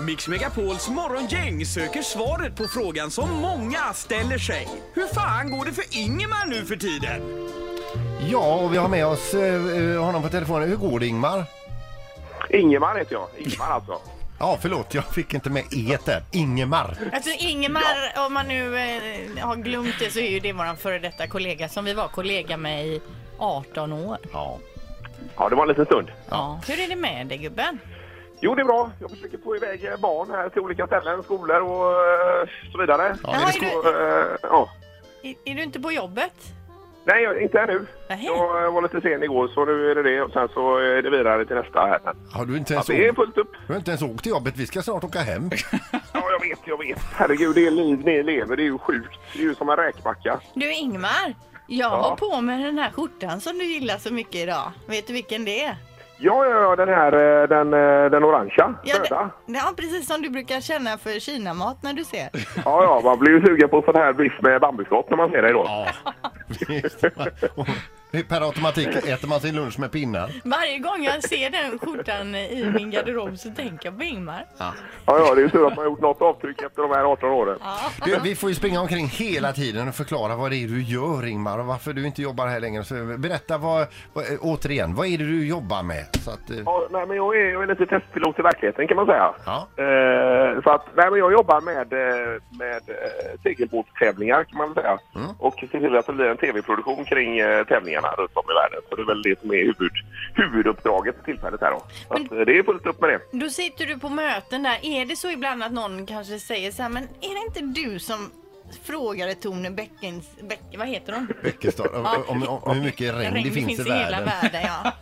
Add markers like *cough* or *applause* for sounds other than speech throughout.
Mix Megapols morgongäng söker svaret på frågan som många ställer sig. Hur fan går det för Ingemar nu för tiden? Ja, och vi har med oss eh, honom på telefonen. Hur går det Ingmar? Ingemar heter jag. Ingemar alltså. Ja, förlåt, jag fick inte med E där. Ingemar. Alltså Ingemar, om man nu eh, har glömt det så är ju det våran före detta kollega som vi var kollega med i 18 år. Ja. Ja, det var en liten stund. Ja. Hur är det med dig gubben? Jo, det är bra. Jag försöker få iväg eh, barn här till olika ställen, skolor och eh, så vidare. Ja, Jaha, det är, du, Och, eh, ja. är, är du inte på jobbet? Nej, jag- inte ännu. Nähä. Jag eh, var lite sen igår, så nu är det det. Och sen så är det vidare till nästa här. sen. Har du inte ens, Det är åkt, fullt upp. du har inte ens åkt till jobbet? Vi ska snart åka hem. *laughs* Ja, jag vet, jag vet. Herregud, det liv ni lever, det är ju sjukt. Det är ju som en räkmacka. Du Ingmar, jag Ja. har på mig den här skjortan som du gillar så mycket idag. Vet du vilken det är? Ja, ja, ja, den här, eh, den, eh, den orangea, röda. det, ja, precis som du brukar känna för kinamat när du ser. Ja, ja, man blir ju sugen på sån här biff med bambuskott när man ser dig då. Ja. Och Per automatik äter man sin lunch med pinnar. Varje gång jag ser den skjortan i min garderob så tänker jag på Ingmar. Ja, ja, det är ju tur att man har gjort något avtryck efter de här 18 åren. Du, vi får ju springa omkring hela tiden och förklara vad det är du gör Ingmar och varför du inte jobbar här längre. Så eh, berätta vad, vad, eh, återigen, vad är det du jobbar med? Så att, eh, Ja, nej, men jag är, jag är lite testpilot i verkligheten kan man säga. Ja. Eh, så att, nej, men jag jobbar med, eh, med eh, segelbåtstävlingar kan man säga. Och ser till att det blir en tv-produktion kring eh, tävlingarna runt om i världen. Så det är väl det som är huvud, huvuduppdraget för tillfället här då. Så att, eh, det är fullt upp med det. Då sitter du på möten där. Är det så ibland att någon kanske säger så här, men är det inte du som frågade Tone Bäckens, Bäck, vad heter hon? Bäckestad, om, om, om, om hur mycket regn, det finns, i hela världen. världen. Ja,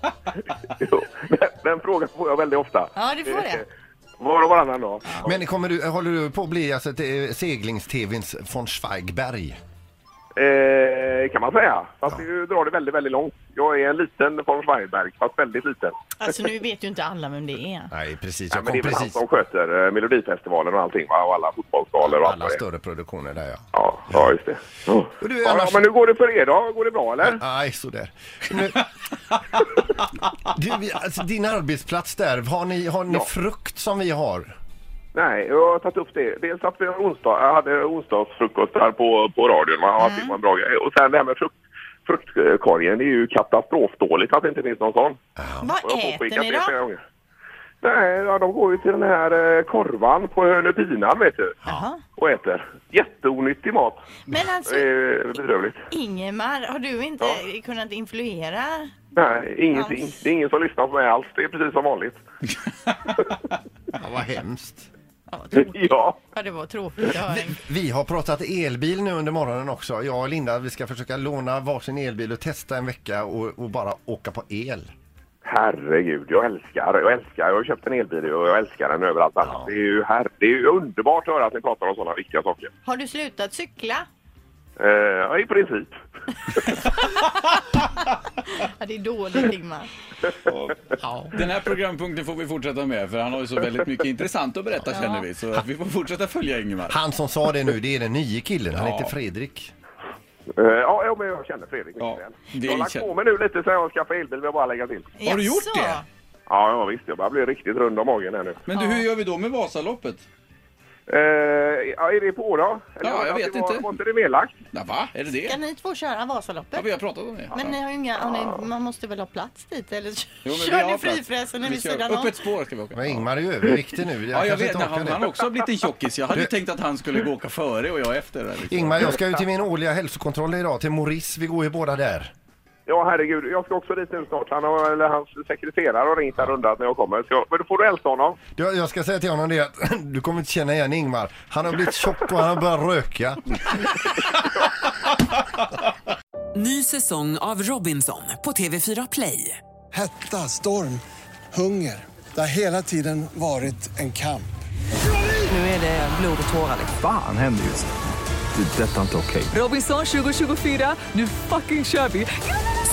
Jo, den, den frågan får jag väldigt ofta. ja du får det. Var och varannan dag. Men kommer du, håller du på att bli alltså, eh, seglings-tvns von Zweigberg? Eh, kan man säga. Fast du drar det väldigt, väldigt långt. Jag är en liten von Schweinberg, fast väldigt liten. Alltså nu vet ju inte alla vem det är. Nej, precis. Ja, Jag men det kom är väl han precis som sköter eh, Melodifestivalen och allting va? Och alla fotbollsgalor och allt alla vad det är. större produktioner där ja. Ja, ja, just det. Ja. Och du, Ja, annars- men hur går det för er då? Går det bra eller? Nej, sådär. Nu... du, vi- alltså, din arbetsplats där, har ni, har ni Ja. frukt som vi har? Nej, jag har tagit upp det. Dels att vi har onsdag, jag hade onsdagsfrukost här på, på radion. Man har mm. en bra grej. Och sen det här med frukt, fruktkorgen, det är ju katastrofdåligt att det inte finns någon sån. Och Vad jag har äter påpekat ni det flera då? gånger. Nej, ja, de går ju till den här eh, korvan på Hönöpinan vet du. Jaha. Och äter. Jätteonyttig mat. Men alltså Det är bedrövligt. Ingemar, har du inte kunnat influera? Nej, ingenting. Det är ingen som lyssnar på mig alls. Det är precis som vanligt. Ja, vad hemskt. Ja, vad Mm. *laughs* tråkigt. Ja. Ja, det var tråkigt att höra. Vi har pratat elbil nu under morgonen också. Jag och Linda vi ska försöka låna varsin elbil och testa en vecka och, och bara åka på el. Herregud, jag älskar, jag älskar, jag har köpt en elbil och jag älskar den överallt annars. Det är ju här, det är ju underbart att höra att ni pratar om sådana viktiga saker. Har du slutat cykla? Eh, ja, i princip. Ja, det är dåligt Ingmar. Och Den här programpunkten får vi fortsätta med för han har ju så väldigt mycket intressant att berätta känner vi. Så vi får fortsätta följa Ingemar. Han som sa det nu, det är den nye killen. Han Ja. heter Fredrik. Eh, ja, ja, men jag känner Fredrik mycket Ja, väl. det Jag har lagt känner- på mig nu lite sen jag skaffade elbil, vill jag bara lägga till. Har du gjort det? Ja, ja visst, jag börjar bli riktigt rund om magen här nu. Men du, hur gör vi då med Vasaloppet? Eh, ja, är det på då? Ja, var det jag att vet det var, inte. Var inte det nedlagt? Ja, va? Är det det? Ska ni två köra Ja, Vasaloppet? vi har pratat om det. Men ni ja. har ju inga, har ni, man måste väl ha plats dit eller Jo, men vi kör har ni plats. frifräsen vid Vi kör. sidan om? Öppet spår ska vi åka. Men Ingmar är ju överviktig nu. Ja, jag kanske vet. inte Han, orkar han det. har också blivit en tjockis. Jag hade ju tänkt att han skulle gå åka före och jag efter. Där, liksom. Ingmar, jag ska ju till min årliga hälsokontroll idag, till Maurice. Vi går ju båda där. Ja, herregud, jag ska också dit nu snart. Han har, eller hans sekreterare har ringt här och undrat när jag kommer. Så jag, men då får du hälsa honom. Du, Jag ska säga till honom det att *laughs* du kommer inte känna igen Ingmar. Han har blivit tjock och han har börjat röka. Ny säsong av Robinson på TV4 Play. Hetta, storm, hunger. Det har hela tiden varit en kamp. Nu är det blod och tårar. Fan händer just nu. Det. är Detta är inte okej. Robinson 2024, nu fucking kör vi!